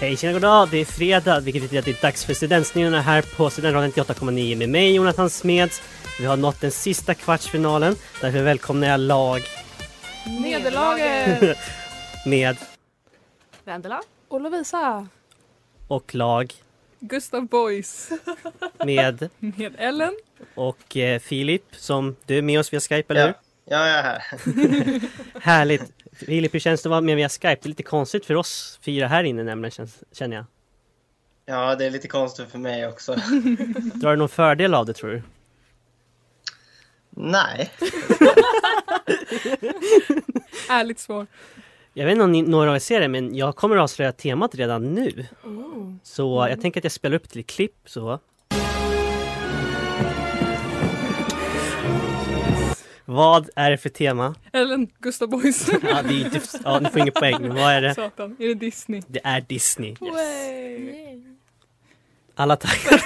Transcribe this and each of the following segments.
Hej tjena goddag, det är fredag vilket betyder att det är dags för Studentnyheterna här på Studentradion 98,9 med mig Jonathan Smeds. Vi har nått den sista kvartsfinalen, därför välkomnar jag lag Nederlaget! med Vendela? Och Lovisa. och lag Gustav Boys med med Ellen. och eh, Filip som du är med oss via Skype eller hur? Ja, jag är här. Härligt! Filip, hur känns det att vara med via Skype? Det är lite konstigt för oss fyra här inne nämligen känns, känner jag. Ja, det är lite konstigt för mig också. Drar du någon fördel av det tror du? Nej. Ärligt svar. Jag vet inte om ni, några av er ser det men jag kommer att avslöja temat redan nu. Så jag tänker att jag spelar upp till klipp så. Vad är det för tema? Ellen, Gustav Boys. Ja, det är, ju inte- ja, ni får ingen poäng, men vad är det? Satan, är det Disney? Det är Disney. Way. Alla tackar.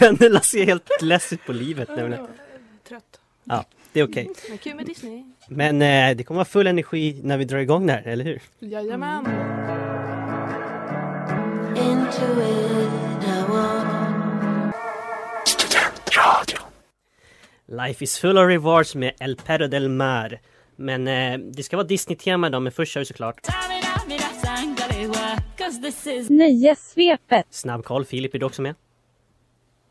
Vendela ser helt less ut på livet Ah. nämligen. Trött. Det är okej. Men kul med Disney. Men eh, det kommer vara full energi när vi drar igång det här, eller hur? Jajamän. Mm. Life is full of rewards med El Perro del Mar. Men eh, det ska vara Disney-tema idag, men först kör vi såklart Nöjessvepet. snabb koll. Filip, är du också med?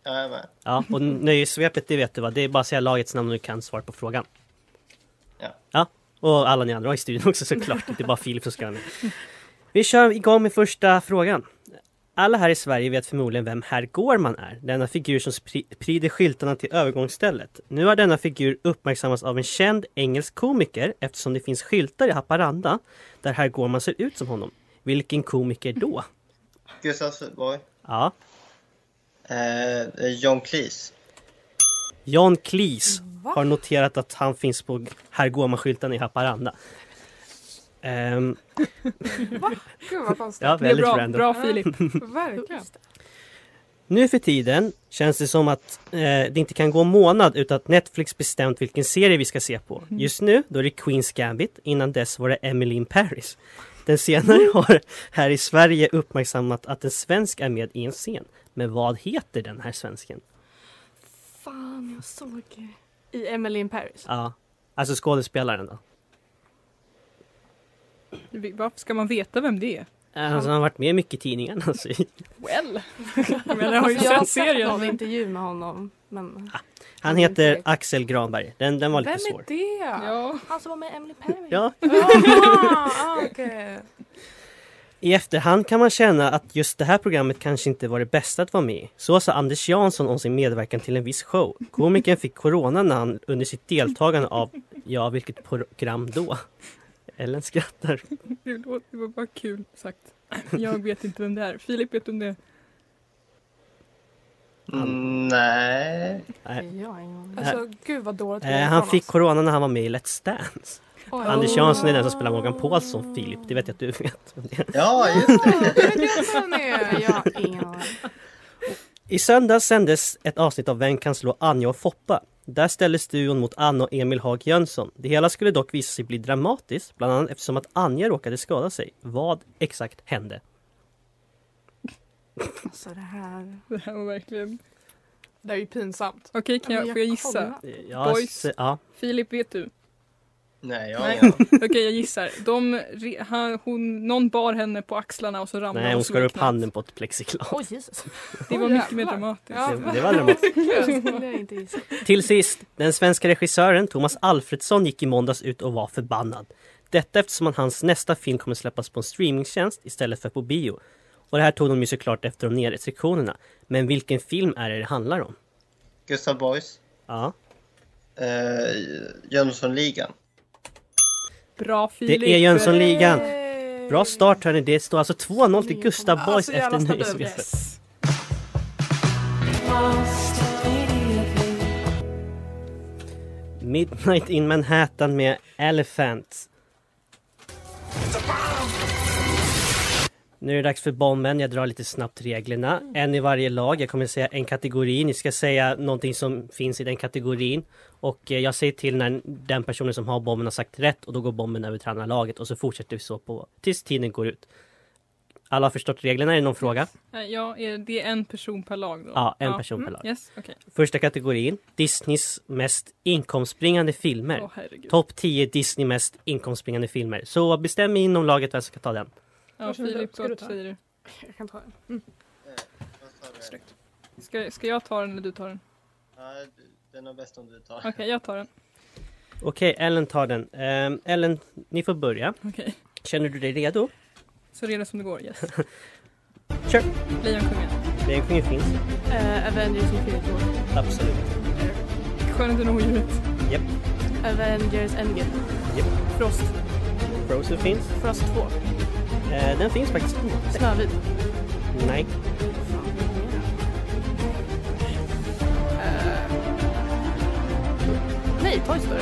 Ja, jag är med. Ja, och nöjessvepet, det vet du va? Det är bara att säga lagets namn och du kan svara på frågan. Ja. Ja, och alla ni andra i studion också såklart. Det är bara Filip som ska vara med. Vi kör igång med första frågan. Alla här i Sverige vet förmodligen vem herr Gårman är, denna figur som spri- pryder skyltarna till övergångsstället. Nu har denna figur uppmärksammats av en känd engelsk komiker eftersom det finns skyltar i Haparanda där herr Gårman ser ut som honom. Vilken komiker då? Gustavs boy. Ja, Eh, det är John Cleese. John Cleese har noterat att han finns på herr Gårman-skylten i Haparanda. Ehm, Gud vad konstigt. ja, Det är väldigt bra, random. Ah. bra Filip. Verkligen. Nu för tiden känns det som att eh, det inte kan gå en månad utan att Netflix bestämt vilken serie vi ska se på. Mhm. Just nu då är det Queen's Gambit, innan dess var det Emily in Paris. Den Mm. senare har här i Sverige uppmärksammat att en svensk är med i en scen. Men vad heter den här svensken? Fan, jag såg i Emily in Paris. Ja, alltså skådespelaren då. Varför ska man veta vem det är? Alltså, han har varit med mycket i tidningarna. Alltså. Well! Jag menar, jag har ju jag har sett sett serien. någon men- intervju med honom. Men Han heter Axel Granberg. Den, den var Vem lite är svår. det? Ja. han som var med i Emily in Paris. Ja, Ah, ah, okej. I efterhand kan man känna att just det här programmet kanske inte var det bästa att vara med i. Så sa Anders Jansson om sin medverkan till en viss show. Komikern fick corona när han under sitt deltagande av, ja vilket program då? Ellen skrattar. Det låter- det var bara kul sagt. Jag vet inte vem det är. Filip vet om det är. Mm, nej. Nej. Jag har ingen aning. Alltså gud vad dåligt vi Eh, är han från fick oss. corona när han var med i Let's Dance. Oj. Anders Jansson är den som spelar Morgan Paulsson, Filip. Det vet jag att du vet. vem det är. Ja, just det. Ja, det vet jag inte vem det är. Jag har ingen aning. I söndags sändes ett avsnitt av Vem kan slå Anja och Foppa? Där ställdes duon mot Anna och Emil Haag Jönsson. Det hela skulle dock visa sig bli dramatiskt, bland annat eftersom att Anja råkade skada sig. Vad exakt hände? Alltså det här. Det här var verkligen... Det är ju pinsamt. Okej, kan jag, får jag gissa? kollar. Eh, Ja, Boys. s- ja. Filip, vet du? Nej, jag Nej. har ingen aning. Okej, jag gissar. De, re- han, hon, någon bar henne på axlarna och så ramlade Nej, hon som skar en upp knapp. handen på ett plexiglas. Oj Jesus. Det var Oj, mycket mer jävlar. dramatiskt. Ja. Det, det var dramatiskt. Det skulle jag inte gissa. Till sist, den svenska regissören Thomas Alfredsson gick i måndags ut och var förbannad. Detta eftersom att hans nästa film kommer släppas på en streamingtjänst istället för på bio. Och det här tog de ju såklart efter de restriktionerna. Men vilken film är det det handlar om? Gustav Boys. Ja. Eh, Jönssonligan. Bra Filip! Det är Jönssonligan. Yay. Bra start hörni, det står alltså 2-0 till Gustav Eh, Alltså, Boys jävla efter stabil. nöjesvepet. Yes. Midnight in Manhattan med Elephant. Nu är det dags för bomben, jag drar lite snabbt reglerna. En i varje lag, jag kommer säga en kategori, ni ska säga någonting som finns i den kategorin. Och eh, jag säger till när den personen som har bomben har sagt rätt och då går bomben över till andra laget och så fortsätter vi så på tills tiden går ut. Alla har förstått reglerna, är det någon fråga? Eh, Ja, är det är en person per lag då? Ja, en person per lag. Yes, okej. Första kategorin, Disneys mest inkomstbringande filmer. Åh herregud. Topp 10 Disney mest inkomstbringande filmer. Så bestäm inom laget vem som ska ta den. Ja, Varsågod, Filip, ska du vad ta? säger du? Jag kan ta den. Ska, ska jag ta den eller du tar den? Nej, du- Den är bäst om du tar. Okej, jag tar den. Okej, Ellen tar den. Ehm, Ellen, ni får börja. Okej. Känner du dig redo? Så redo som det går, yes. Kör. Lejonkungen. Lejonkungen finns, Eh, Avengers Infinity War. absolut. Skönheten och odjuret. Avengers Endgame. Japp. Frost. Frozen finns. Frost 2. Eh, den finns faktiskt inte. Snövit. Nej. Nej, Toy Story.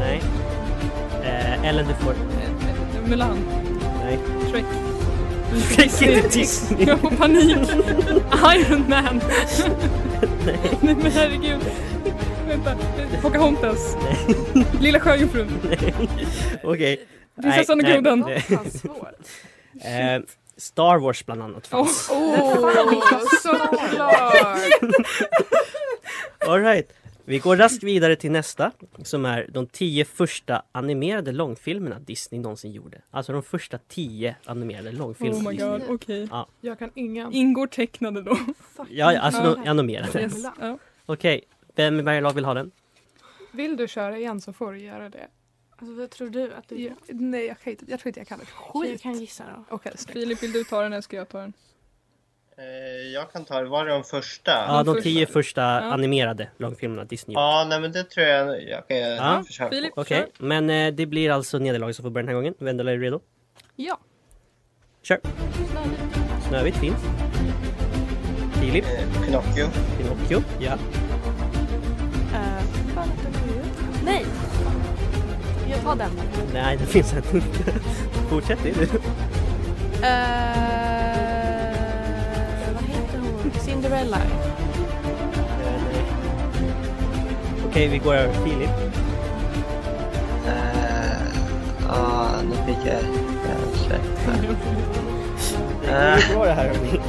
Nej. Eh, Ellen, du får... Eh, eh, Mulan. Nej. Shrek. Shrek är inte Disney. Jag får panik. Iron Man. Nej. Nej men herregud. Vänta. Pocahontas. Lilla Sjöjungfrun. Okej. Prinsessan och Nej, nej. grodan. Åh, fan svår. Eh, Star Wars bland annat Åh, fanns. Åh, Oh, såklart! Oh. All right. Vi går raskt vidare till nästa som är de tio första animerade långfilmerna Disney någonsin gjorde. Alltså de första tio animerade långfilmerna. oh my Disney. god, okej. Jag kan inga. Ingår tecknade då? Ja, ja, alltså Ja. de animerade. Yes. Ja. Okej, vem i varje lag vill ha den? Vill du köra igen så får du göra det. Alltså vad tror du att du... Jag, nej, jag, kan inte, jag tror inte jag kan det. Jag Skit! kan gissa då. Okej, snyggt. Filip, vill du ta den eller ska jag ta den? Eh, Jag kan ta det. Var det de första? Ja, de första. tio första Ja. animerade långfilmerna Disney gjorde. Ja, nej men det tror jag jag kan Ja, försöka. Filip, Okej, kör. men eh, det blir alltså nederlaget som får börja den här gången. Vendela, är du redo? Ja. Kör! Snövit finns. Filip, Eh, Pinocchio. Pinocchio. Ja. Eh, nej! Jag tar den. Nej, det finns inte. Fortsätt du. Eh, vad heter hon? Cinderella. Eh, nej. Okej, vi går över till Filip. Eh, ah, nu fick jag... jag ursäkta. Det går ju bra det här hörni.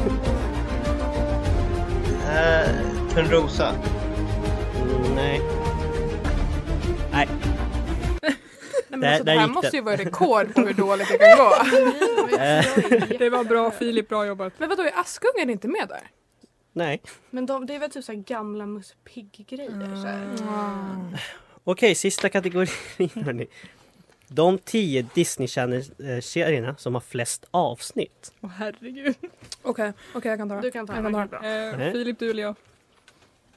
Eh, Törnrosa. Mm, Nej. Nej, Nej, men Där- alltså, där det här gick måste den. ju vara rekord på hur dåligt det kan gå. alltså, Det var bra Filip, bra jobbat. Men vadå, är Askungen inte med där? nej. Men de, det är väl typ så här gamla Musse Pigg-grejer? så här. Mm. Okej, sista kategorin hörni. De tio Disney Channel-serierna som har flest avsnitt. Åh herregud. Okej, okej jag kan ta den. Du kan ta jag den. kan ta den. Eh, Nej. Filip, du eller jag?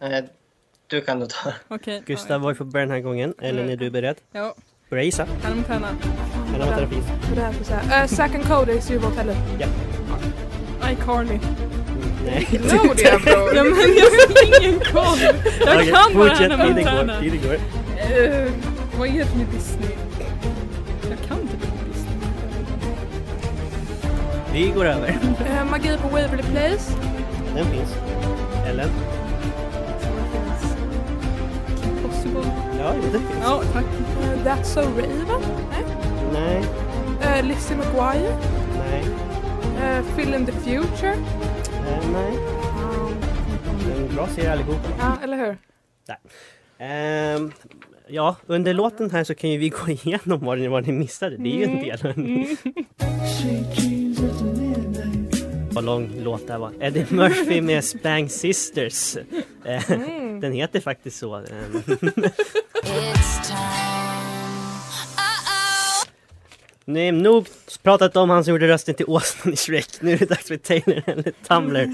Eh, du kan nog ta. Okej. Gustav, vad får börja den här gången? Ellen, är du beredd? Ja, Börja gissa. Hannah Montana. Eller vänta, det finns. Vad det här för såhär. Uh, Zack and Cody i Suvhotellet. iCarly. Mm, Nej. Jo det är bror! Ja, men jag har ingen koll. Jag Okej, kan bara fortsätt. Hannah Tiden går, Montana. Tiden går. Eh, vad är det med Disney? Jag kan inte mycket Disney. Vi går över. Eh, magi på Waverly Place. Den finns. Ellen? Possible. Ja, jo, den finns. Ja, tack. Eh, That's so Raven. Nej, Uh, Lizzie McGuire. nej, Uh, Phil in the Future. eh, nej. En bra serie allihopa. Ja, eller hur? Ehm, ja, under låten här så kan ju vi gå igenom vad ni, vad ni missade. Det är ju en del. Vad lång låt det här var. Eddie Murphy med Spang Sisters. Eh, Den heter faktiskt så. Ehm. Nu är nog pratat om han som gjorde rösten till åsnan i Shrek. Nu är det dags för Taylor eller Tumblr.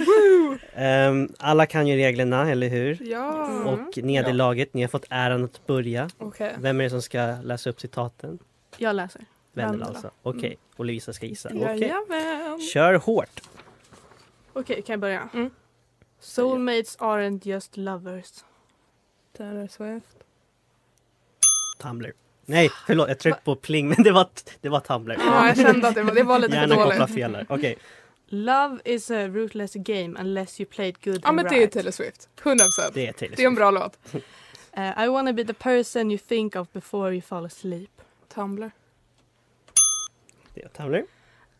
Ehm, alla kan ju reglerna, eller hur? Ja. Och nederlaget, ni har fått äran att börja. Mm. Okej. Vem är det som ska läsa upp citaten? Jag läser. Vendela Vendela. alltså. Okej, Mm. och Lovisa ska gissa. Okej. Jajamän. Kör hårt! Okej, kan jag börja? Mm. Soulmates aren't just lovers. Taylor Swift. Tumblr. Nej, förlåt, jag tryckte på pling men det var, det var Tumblr. Ja, jag kände att det var, det var lite för Gärna koppla dåligt. fel där. Okej, Love is a ruthless game unless you play it good Ja, and men det är ju right. Taylor Swift. 100%. det är Taylor Det är en Swift. bra låt. Eh, I wanna be the person you think of before you fall asleep. Tumblr. Det är Tumblr.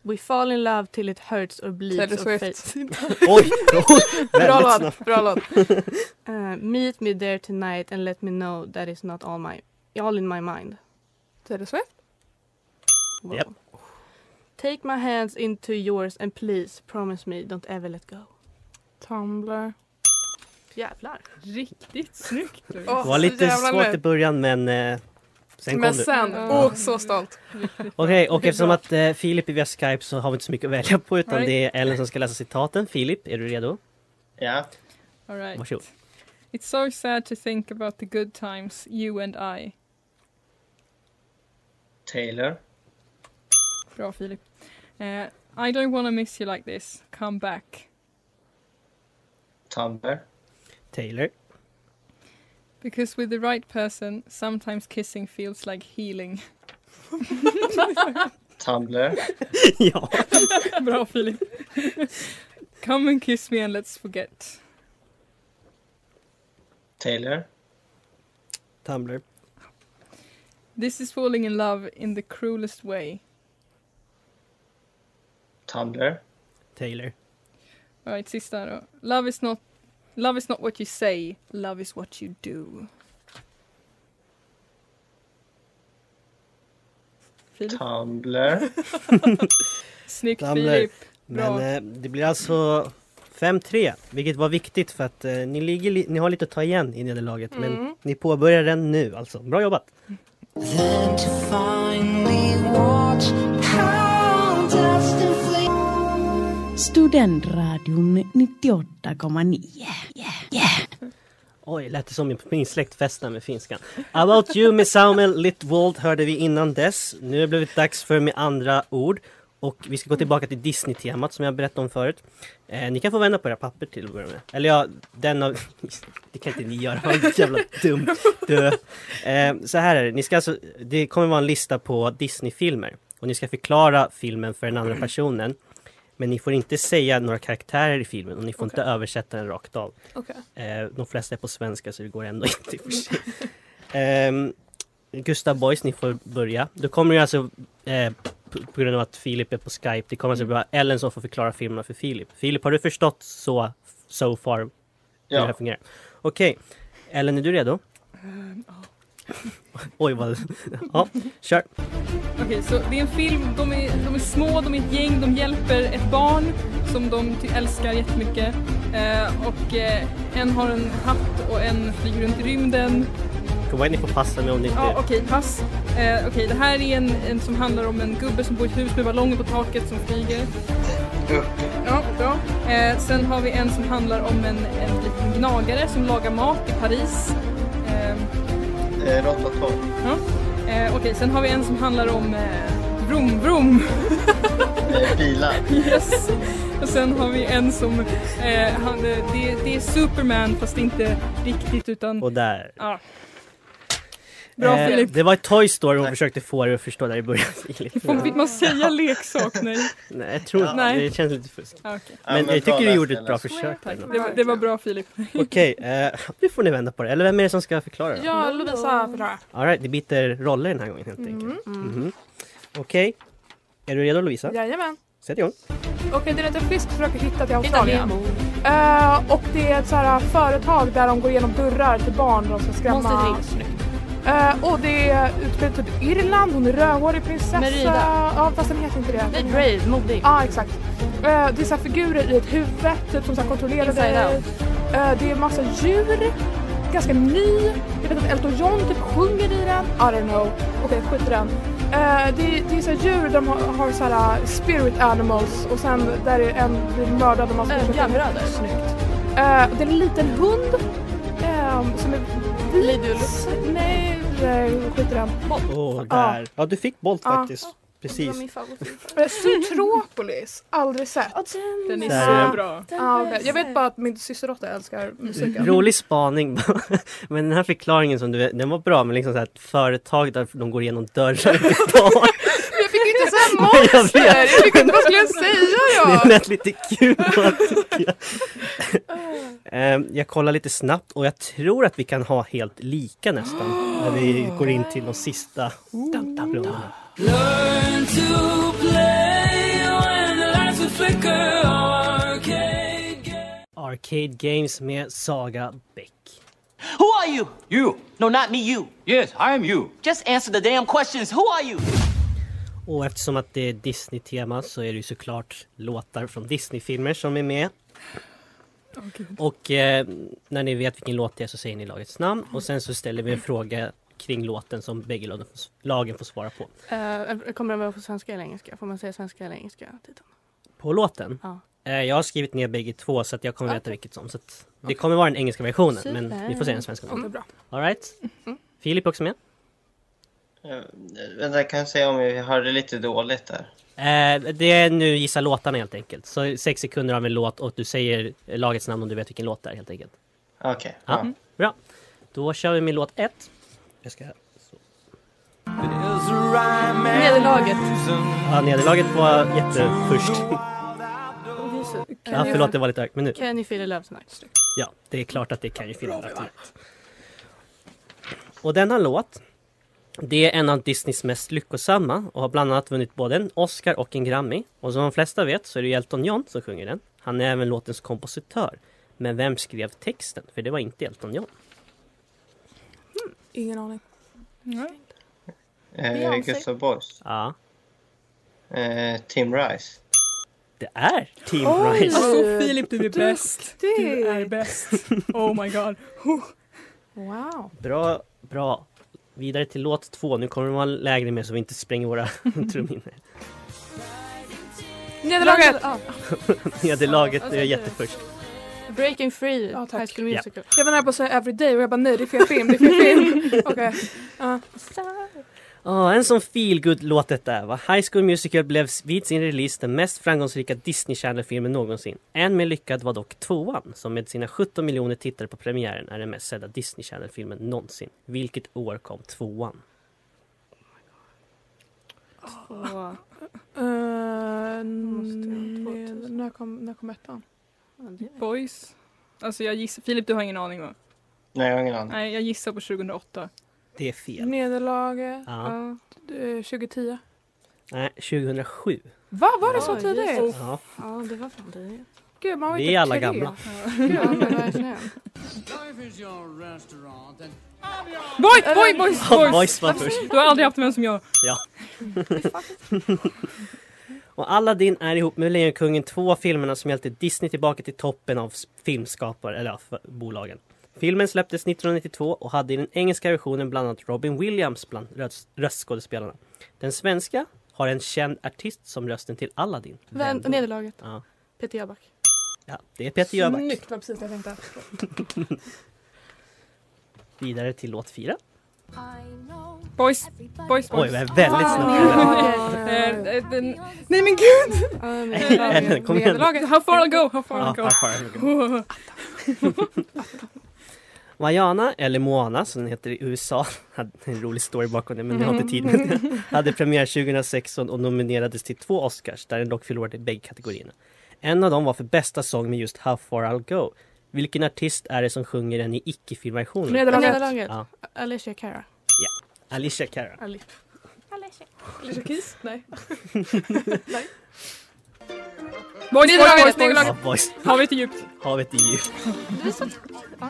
We fall in love till it hurts or bleeds Taylor or Swift. fades. Oj! oj Bra väldigt snabbt. låt, bra låt. Eh, meet me there tonight and let me know that is not all my all in my mind. Taylor Swift. Wow. Japp. Take my hands into yours and please promise me don't ever let go. Tumblr. Jävlar. Riktigt snyggt. Louise. Åh, Det var så lite jävla svårt lätt. i början men eh, sen Men kom du. sen, Ja. oh så stolt. Okej, och Det är eftersom bra. att eh, Filip är via Skype så har vi inte så mycket att välja på utan Right. det är Ellen som ska läsa citaten. Filip, är du redo? Ja. All right. Varsågod. It's so sad to think about the good times you and I. Taylor. Bra Filip. Eh, I don't wanna miss you like this. Come back. Tumblr. Taylor, Because with the right person, sometimes kissing feels like healing. Tumblr. ja, Bra Filip. Come and kiss me and let's forget. Taylor. Tumblr, This is falling in love in the cruelest way. Tumblr. Taylor, All right, sista då. Love is not Love is not what you say, love is what you do. Filip. Tumblr. Snyggt Tumblr. Filip. Bra. Men eh, det blir alltså 5-3, vilket var viktigt för att eh, ni, ligger li- ni har lite att ta igen i nederlaget. Men ni påbörjar den nu alltså. Bra jobbat! Studentradion 98,9. Oj, lät det som min släktfesten med finskan. About you med Samuel Littwald hörde vi innan dess. Nu har det blivit dags för Med andra ord. Och vi ska gå tillbaka till Disney-temat som jag berättade om förut. Eh, ni kan få vända på era papper till att börja med. Eller ja, den av... Det kan inte ni göra, vad jävla dum. Dö. Eh, så här är det, ni ska alltså, det kommer vara en lista på Disney-filmer. Och ni ska förklara filmen för den andra personen. Men ni får inte säga några karaktärer i filmen och ni får inte översätta den rakt av. Okej. Eh, de flesta är på svenska så det går ändå inte i och för sig. Ehm, Gustav Boys, ni får börja. Då kommer det alltså, eh, på, på grund av att Filip är på Skype, det kommer alltså Mm. vara Ellen som får förklara filmerna för Filip. Filip, har du förstått så, so far hur det här Ja. fungerar? Okej, Ellen är du redo? Eh, Oj vad... Ja, kör! Okej, så det är en film, de är, de är små, de är ett gäng, de hjälper ett barn som de ty- älskar jättemycket. Eh, och eh, en har en hatt och en flyger runt i rymden. Kom igen, ni får passa mig om ni inte... Ja, okej, pass. Eh, okej, det här är en, en som handlar om en gubbe som bor i ett hus med ballonger på taket som flyger. Ja, bra. Eh, sen har vi en som handlar om en, en liten gnagare som lagar mat i Paris. Eh, Eh, Råttatorp. ja. eh, okej, sen har vi en som handlar om eh, Vroom Vroom. Eh, bilar. Yes. Och sen har vi en som, eh, han, eh, det, det är Superman fast inte riktigt utan... Och där. Ja. Bra Eh, Filip. Det var ett Toy Story hon försökte få dig att förstå där i början. Filip. Får- Fick man säga leksak? Nej. Nej, jag tror inte Nej. det. känns lite fusk. Ah, okej. Ja, Men jag bra tycker du läst, gjorde ett bra Ellen. försök. Tack. ändå. Det, var, det var bra Filip. Okej, eh, nu får ni vända på det. Eller vem är det som ska förklara? Ja. Ja, Lovisa bra. Alright, det byter roller den här gången helt enkelt. Mhm. Okej, är du redo Lovisa? Jajamän. Sätt igång. Okej, det är en liten fisk som försöker hitta till Australien. Eh, och det är ett så här företag där de går igenom dörrar till barn och ska skrämma. Eh, och det är utspelat typ Irland, hon är rödhårig prinsessa. Merida. Ja, fast den heter inte det. Nej, brave, modig. Ja, exakt. Eh, det är så här figurer i ett huvud typ, som så här kontrollerar Inside dig. out. Eh, det är massa djur. Ganska ny. Jag vet att Elton John typ sjunger i den. I don't know. Okej, skit i den. Eh, det, det är så här djur, de har, har så här uh, spirit animals och sen där är en blir mördad och man Eh, ska försöka- Ögonbröder. Snyggt. Eh, och det är en liten hund ehm, som är vit. Lidulf. Nej, nej, skit i den. Åh, där. Ja, du fick Bolt Ja. faktiskt. Det var Precis. min favorit. Eh, Zootropolis, aldrig sett. Den är Där. så bra. Den Ja, har okej. Jag vet bara att min systerdotter älskar musiken. Rolig spaning. men den här förklaringen som du, den var bra, men liksom så här, ett företag där de går igenom dörrar med barn. Jag fick inte säga Nej, jag monster! vet. Jag fick inte, vad skulle jag säga Det då? lät lite kul bara, tycker jag. Ehm, jag kollar lite snabbt och jag tror att vi kan ha helt lika nästan när vi går in till de sista rundan. Learn to play your Arcade Games med Saga Bäck. Who are you? You! No, not me, you. Yes, I am you! Just answer the damn questions. Who are you? Och eftersom att det är Disney-tema så är det ju såklart låtar från Disney-filmer som är med. Och eh, när ni vet vilken låt det är så säger ni lagets namn och sen så ställer vi en fråga kring låten som bägge lagen får, lagen får svara på. Eh, kommer den vara på svenska eller engelska? Får man säga svenska eller engelska? Titeln? På låten? Ja. Eh, jag har skrivit ner bägge två så att jag kommer veta vilket som. Så att det kommer vara den engelska versionen men Super. Mm. vi får se den svenska. Ja, det är versionen. bra. All right. Filip är också med. Eh, Vänta, kan jag säga om jag hörde lite dåligt där? Eh, det är nu gissa låtarna helt enkelt. Så sex sekunder av en låt och du säger lagets namn om du vet vilken låt det är helt enkelt. Okej. ja. Mm. Bra. Då kör vi med låt ett. Mm. Jag ska... Nederlaget. Ja, nederlaget var jätteförst. Can Ja, you- förlåt, det var lite högt. Men nu. Can you feel the love tonight? Ja, det är klart att det kan ju finnas aktuellt. Och denna låt, det är en av Disneys mest lyckosamma och har bland annat vunnit både en Oscar och en Grammy. Och som de flesta vet så är det ju Elton John som sjunger den. Han är även låtens kompositör. Men vem skrev texten? För det var inte Elton John. Ingen aning. Eh, Beyoncé. Gustav Boys. Ja, Eh, Tim Rice. det är Team Oj! Rice. Alltså Filip, du är bäst. Du är bäst. Oh my god. Wow. Bra, bra. Vidare till låt två. Nu kommer det vara lägre med så vi inte spränger våra trumhinnor. Nederlaget! Ja, Nederlaget är jätteförst. Breaking Free, Ja, tack. High School Musical. Jag var nära på att säga Everyday och jag bara nej det är fel film, det är fel film. Okej. Eh, Ja, en sån feelgood låt detta är va? High School Musical blev vid sin release den mest framgångsrika Disney Channel-filmen någonsin. En med lyckad var dock tvåan, som med sina 17 miljoner tittare på premiären är den mest sedda Disney Channel-filmen någonsin. Vilket år kom tvåan? Och, Eh, Måste jag ha ned- 2000? När kom, när kom ettan? Boys. Alltså jag gissar, Filip du har ingen aning va? Nej, jag har ingen aning. Nej jag gissar på 2008. Det är fel. Nederlaget Ja. eh, 2010. Nej, 2007. Va, var det så Oj, tidigt? Jesus. Ja. ja, det var fan det. Gud, man var Vi inte är alla tre. gamla. Gud, Ja, men verkligen. Boys, boys, boys, Ja, boys! Voice var först. Du har aldrig haft en vän som jag. Och Aladdin är ihop med Lejonkungen två av filmerna som hjälpte Disney tillbaka till toppen av s- filmskapare, eller ja, f- bolagen. Filmen släpptes 1992 och hade i den engelska versionen bland annat Robin Williams bland röst- röstskådespelarna. Den svenska har en känd artist som rösten till Aladdin. Vem, då? nederlaget. Ja. Peter Jöback. ja, det är Peter Jöback. Snyggt, var precis det jag tänkte. Vidare till låt fyra. Boys, boys, boys. Oj, jag är väldigt Ah. snabb. Eh, eh, den- Nej men gud! Eller, Kom igen. Nederlaget. How far I'll go, how far Ja, I'll go. farfar. Vaiana, eller Moana som den heter i USA, hade en rolig story bakom det men jag har inte tid med det. Hade premiär 2016 och nominerades till två Oscars där den dock förlorade i bägge kategorierna. En av dem var för bästa sång med just How far I'll go. Vilken artist är det som sjunger den i icke-filmversionen? Nederlaget. Nederlaget. Ja. Alicia Cara. Alicia Cara. Ali. Alicia Keys? Nej. Boys, boys, boys, Ja, nederlaget. boys. Har vi inte djupt. Havet är djupt.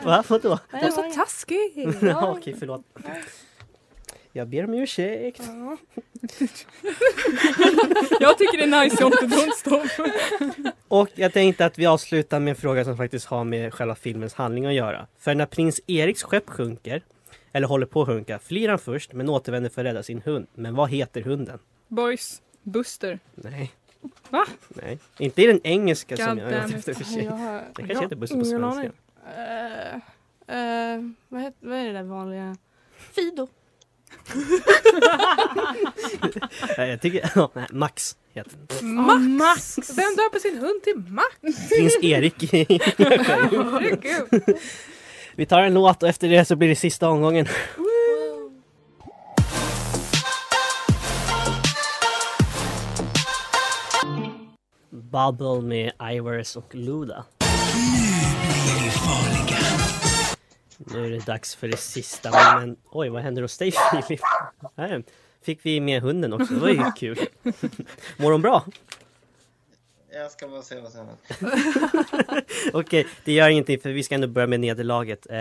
Va? Vadå? Det var så taskig! Ja, okej, förlåt. Jag ber om ursäkt. Jag tycker det är nice, jag har inte brunstånd. Och jag tänkte att vi avslutar med en fråga som faktiskt har med själva filmens handling att göra. För när prins Eriks skepp sjunker, eller håller på att sjunka, flyr han först men återvänder för att rädda sin hund. Men vad heter hunden? Boys, Buster. Nej. Va? Nej. Inte i den engelska som God jag är damn ute it. efter för Jag sig. har... Den kanske heter Buster på ingen svenska. aning. Eh, eh, vad, heter, vad är det där vanliga? Fido. Nej, Jag tycker... ja, nej, Max heter den. Max! Vem döper sin hund till Max? Prins Erik. Herregud. vi tar en låt och efter det så blir det sista omgången. Bubble med Ivers och Luda. Nu är det dags för det sista men Oj, vad händer hos dig Filip? Här Fick vi med hunden också, det var ju kul. Mår hon bra? jag ska bara se vad som händer. Okej, det gör ingenting för vi ska ändå börja med nederlaget. Eh,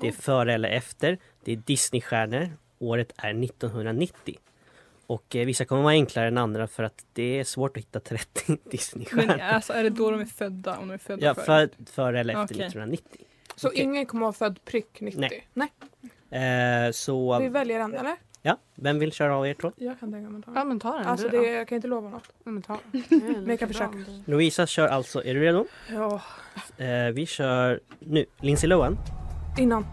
Det är före eller efter. Det är Disneystjärnor. Året är 1990. Och eh, vissa kommer vara enklare än andra för att det är svårt att hitta 30 Men Disneystjärnor. alltså är det då de är födda? Om de är födda Ja, före? för, före eller efter Okej. 1990. Så Okej. ingen kommer vara född prick 90? Nej. Nej. Eh, Vi så, väljer en, eller? ja, vem vill köra av er två? Jag kan tänka mig att ta Ja den. men ta den Alltså du då. det, jag kan inte lova något. Ja, men ta den. Men jag kan försöka. Louisa kör alltså, är du redo? Ja, Eh, vi kör nu. Lindsay Lohan, innan.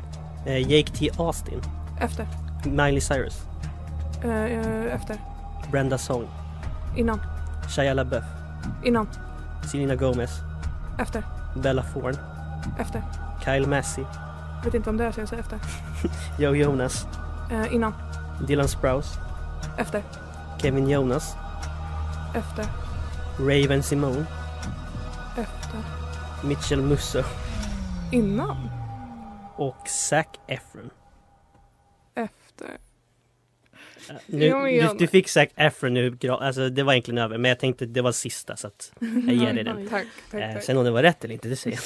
eh, Jake T. Austin, Efter. Miley Cyrus, Eh, eh, efter. Brenda Song, Innan. Shia LaBeouf, Innan. Selena Gomez, Efter. Bella Thorne, Efter. Kyle Massey, Vet inte om det är så jag säger efter. Joe Jonas, Eh, innan. Dylan Sprouse, Efter. Kevin Jonas, Efter. Raven Simone, Efter. Mitchell Musso Innan. och Zac Efron. Efter. Eh, Nu, Jo, du, Jonas. du fick Zac Efron nu, gra- alltså det var egentligen över men jag tänkte det var sista så att jag ger dig den. Tack, tack, Eh, tack. sen om det var rätt eller inte, det ser jag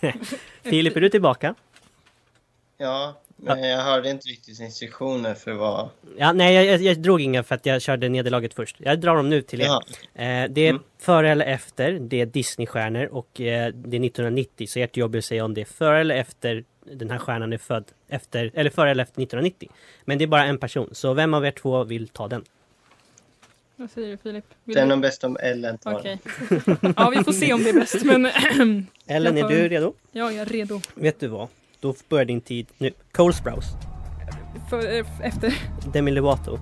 inte. Filip, är du tillbaka? Ja, men jag hörde inte riktigt instruktioner för vad... Ja, nej, jag- jag, jag drog inga för att jag körde nederlaget först. Jag drar dem nu till er. Jaha. Eh, det är Mm. före eller efter, det är Disneystjärnor och eh, det är 1990. Så ert jobb är att säga om det är före eller efter den här stjärnan är född. Efter, eller före eller efter 1990. Men det är bara en person, så vem av er två vill ta den? Vad säger du Filip? Vill Det är du- nog bäst om Ellen tar Okej. ja vi får se om det är bäst men Ellen, Jag är tar du den. redo? ja, jag är redo. Vet du vad? Då börjar din tid nu. Cole Sprouse, För, eh, efter. Demi Lovato,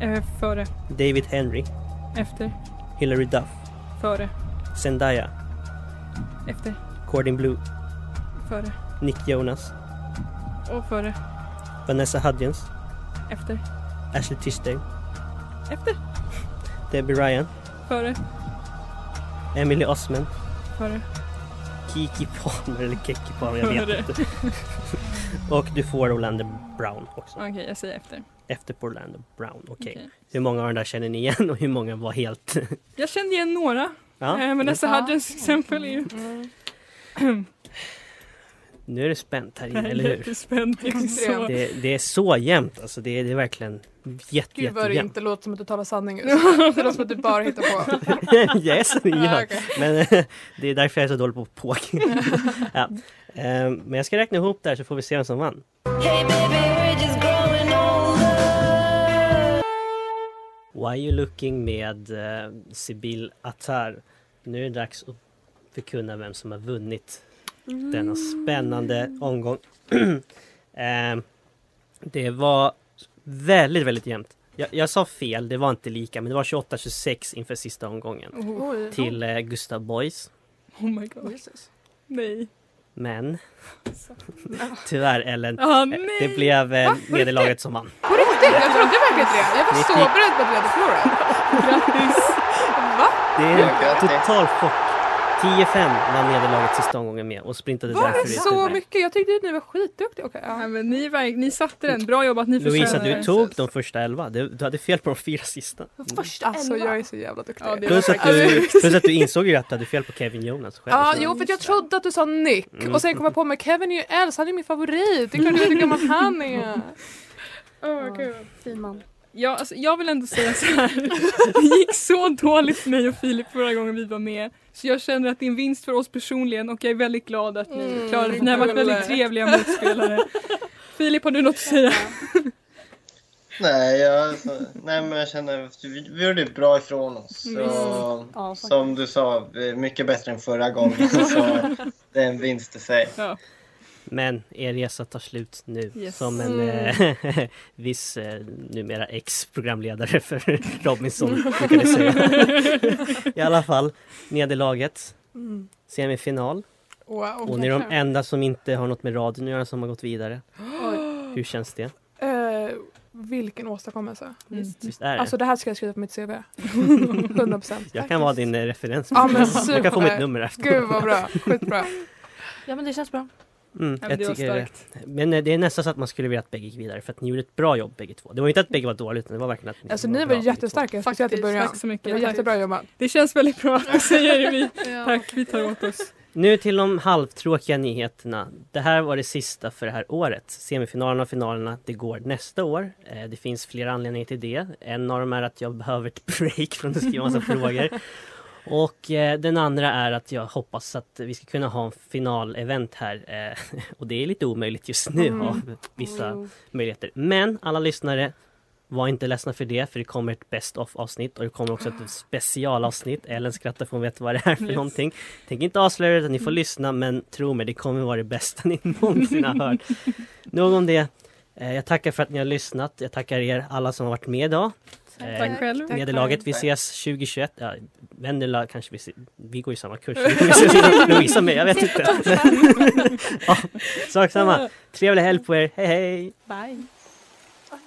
Eh, före. David Henry, Efter. Hillary Duff, Före. Zendaya, Efter. Cordin Blue, Före. Nick Jonas, Och före. Vanessa Hudgens, Efter. Ashley Tisdale, Efter. Debbie Ryan, Före. Emily Osment, Före. Kiki Palmer eller Keki Palmer, jag Före. vet inte. Och du får Orlando Brown också. Okej, jag säger efter. Efter på Orlando Brown, okej. Okej. Hur många av de där känner ni igen och hur många var helt... Jag kände igen några. Ja, Mm, Eh, men Nessa Ja. Hudgens till exempel är ju... nu är det spänt här inne, eller hur? Jättespänt. Jag är så- Det, det är så jämnt alltså, det är, det är verkligen jätte, Gud vad det jättejämnt. inte låter som att du talar sanning ut. Det låter som att du bara hittar på. yes, det Ah, gör. okej. Men eh, det är därför jag är så dålig på poker. ja. Eh, Men jag ska räkna ihop det här så får vi se vem som vann. Why you looking med eh, Sibyl Attar. Nu är det dags att förkunna vem som har vunnit denna spännande omgång. Eh, det var väldigt, väldigt jämnt. Jag, jag sa fel, det var inte lika, men det var 28-26 inför sista omgången Oh, till eh, Gustav Boys. oh my god. Nej. Men tyvärr Ellen, Ah, eh, nej. det blev eh, nederlaget som vann. På riktigt? Jag trodde verkligen inte det. Jag var Ni så fick- beredd på att vi hade förlorat. Det är Ja, en grattis. total chock. 10-5 vann nederlaget sista omgången med och sprintade Var därför det ut så ur- mycket? Jag tyckte att ni var skitduktiga. Okej, Nej, ja. men ni, verk- ni satte den. Bra jobbat, ni Louisa, förtjänar du det. tog de första elva. Du, du hade fel på de fyra sista. Första alltså jag är så jävla duktig. Ja, det- Plus att, du, plus att du insåg ju att du hade fel på Kevin Jonas själv. Ja, Så- jo för jag trodde att du sa Nick Mm. och sen kom jag på mig Kevin är ju äldst, han är min favorit. Det är klart du vet hur gammal han är. Åh, gud. Fin man. Ja, alltså, jag vill ändå säga så här. Det gick så dåligt för mig och Filip förra gången vi var med. Så jag känner att det är en vinst för oss personligen och jag är väldigt glad att ni Mm, klarade det. för Ni har varit gulle. väldigt trevliga motspelare. Filip, har du något att säga? Nej, jag, alltså, nej, men jag känner att vi, vi gjorde bra ifrån oss. Så, Ja, faktiskt. som du sa, eh, mycket bättre än förra gången. så det är en vinst i sig. Men er resa tar slut nu Yes. som en Mm. eh, viss eh, numera ex-programledare för Robinson brukade säga. I alla fall, nederlaget, Mm. semifinal Wow. och ni är de enda som inte har något med radion att göra som har gått vidare. Hur känns det? Eh, vilken åstadkommelse. Mm. Visst är det? Alltså det här ska jag skriva på mitt CV. 100 procent. jag kan vara din eh, referens. Ja, men jag kan få mitt super. nummer efter. Gud vad bra, skitbra. Ja men det känns bra. Mm, men jag det var tycker det. Men eh, det är nästan så att man skulle vilja att bägge gick vidare för att ni gjorde ett bra jobb bägge två. Det var inte att bägge var dåliga utan det var verkligen att ni Alltså ni var bra, bägge jättestarka, speciellt i Faktiskt, början. tack så mycket. Det var jättebra jobbat. Det känns väldigt bra att du säger det. Vi, tack, vi tar åt oss. två. Nu till de halvtråkiga nyheterna. Det här var det sista för det här året. Semifinalerna och finalerna, det går nästa år. Eh, Det finns flera anledningar till det. En av dem är att jag behöver ett break från att skriva massa frågor. Och eh, den andra är att jag hoppas att vi ska kunna ha en finalevent här. Eh, och det är lite omöjligt just nu av vissa möjligheter. Men alla lyssnare, var inte ledsna för det, för det kommer ett best of avsnitt och det kommer också ett specialavsnitt. Ellen skrattar för hon vet vad det är för Yes. någonting. Tänk inte avslöja det, utan ni får lyssna, men tro mig, det kommer vara det bästa ni någonsin har hört. Nog om det. Eh, Jag tackar för att ni har lyssnat. Jag tackar er alla som har varit med idag. Eh, Tack själv. Nederlaget, vi Tack. ses 2021. Ja, Vendela kanske vi ses. Vi går ju samma kurs. Vi ses- Lovisa med, jag vet inte. ja, sak samma. Trevlig helg på er. Hej hej! Bye.